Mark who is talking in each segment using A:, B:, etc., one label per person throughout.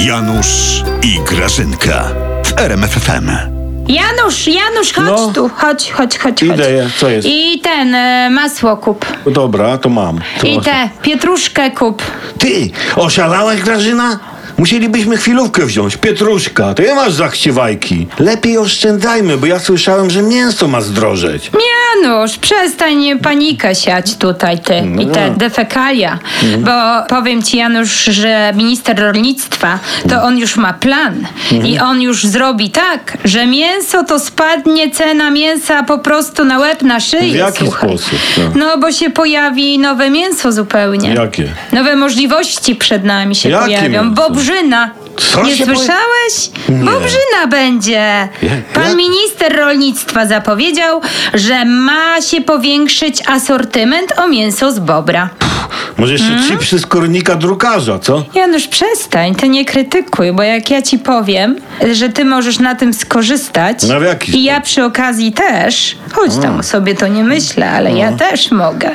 A: Janusz i Grażynka w RMFFM.
B: Janusz, Janusz, chodź
C: No.
B: tu, chodź, chodź, chodź, chodź.
C: Idę, ja- co jest?
B: I ten, e, masło kup.
C: No Dobra, to mam. To
B: I
C: masz.
B: tę pietruszkę kup.
C: Ty, oszalałaś Grażyna? Musielibyśmy chwilówkę wziąć. Pietruszka, ty masz zachciewajki. Lepiej oszczędzajmy, bo ja słyszałem, że mięso ma zdrożeć.
B: Janusz, przestań panikę siać tutaj ty
C: No
B: i te
C: tak.
B: defekalia.
C: Mhm.
B: Bo powiem ci, Janusz, że minister rolnictwa, to on już ma plan.
C: Mhm.
B: I on już zrobi tak, że mięso to spadnie cena mięsa po prostu na łeb, na szyję.
C: W jaki
B: słuchaj.
C: sposób? No.
B: No, bo się pojawi nowe mięso zupełnie.
C: Jakie?
B: Nowe możliwości przed nami się
C: Jakie
B: pojawią.
C: mięso?
B: Bobrzyna.
C: Co
B: Nie
C: się poja-
B: słyszałeś? Bobrzyna będzie.
C: Je-
B: Pan
C: jak?
B: minister rolnictwa zapowiedział, że ma się powiększyć asortyment o mięso z bobra.
C: Może jeszcze
B: Mm.
C: chipsy z kornika drukarza, co?
B: Janusz, przestań, ty nie krytykuj, bo jak ja ci powiem, że ty możesz na tym skorzystać.
C: No w jaki
B: I ja przy okazji też, choć tam o sobie to nie myślę, ale ja też mogę.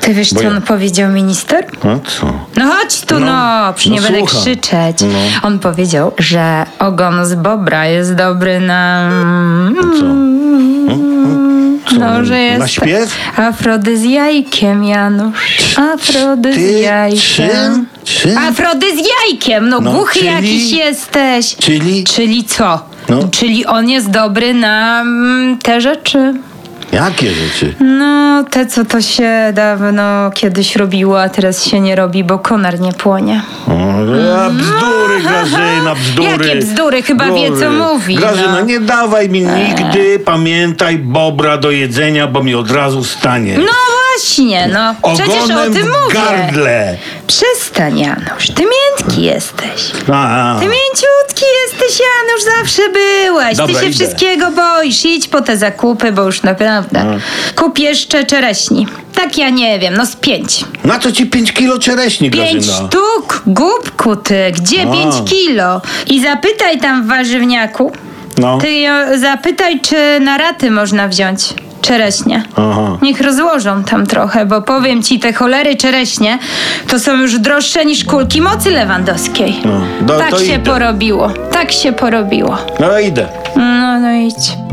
B: Ty wiesz, co
C: No. ja-
B: on powiedział minister?
C: No co?
B: No chodź tu, no, no przy
C: no
B: nie będę
C: słucham. No.
B: krzyczeć. On powiedział, że ogon z bobra jest dobry na...
C: Hmm?
B: No, że jest
C: na śpiew?
B: afrodyzjajkiem, Janusz. Afrodyzjajkiem.
C: czym? Czym?
B: Afrodyzjajkiem! No,
C: No,
B: głuchy
C: czyli-
B: jakiś jesteś.
C: Czyli?
B: Czyli co?
C: No.
B: Czyli on jest dobry na mm, te rzeczy.
C: Jakie rzeczy?
B: No, te co to się dawno kiedyś robiło, a teraz się nie robi, bo konar nie płonie.
C: O, ja bzdury, Grażyna, bzdury.
B: Mhm. Jakie bzdury? Chyba wie, co mówi,
C: Grażyna,
B: no.
C: nie dawaj mi nigdy, pamiętaj, bobra do jedzenia, bo mi od razu stanie.
B: No właśnie, no. Przecież o
C: Ogonem
B: tym
C: w
B: mówię.
C: gardle.
B: Przestań, Janusz, ty miętki jesteś.
C: A, a.
B: Ty mięciutki jesteś, Janusz, zawsze byłeś.
C: Dobra,
B: ty się
C: idę.
B: wszystkiego boisz. Idź po te zakupy, bo już naprawdę.
C: No.
B: Kup jeszcze czereśni. Tak ja nie wiem, no z pięć.
C: Na co ci 5 kilo czereśni,
B: Pięć
C: Grażyna?
B: sztuk, głupku ty, gdzie
C: A.
B: pięć kilo? I zapytaj tam w warzywniaku.
C: No.
B: Ty e, zapytaj, czy na raty można wziąć czereśnie.
C: Aha.
B: Niech rozłożą tam trochę, bo powiem ci, te cholery czereśnie to są już droższe niż kulki mocy lewandowskiej.
C: No, do-
B: tak
C: to
B: się
C: idę.
B: porobiło, tak się porobiło.
C: No idę.
B: No, no idź.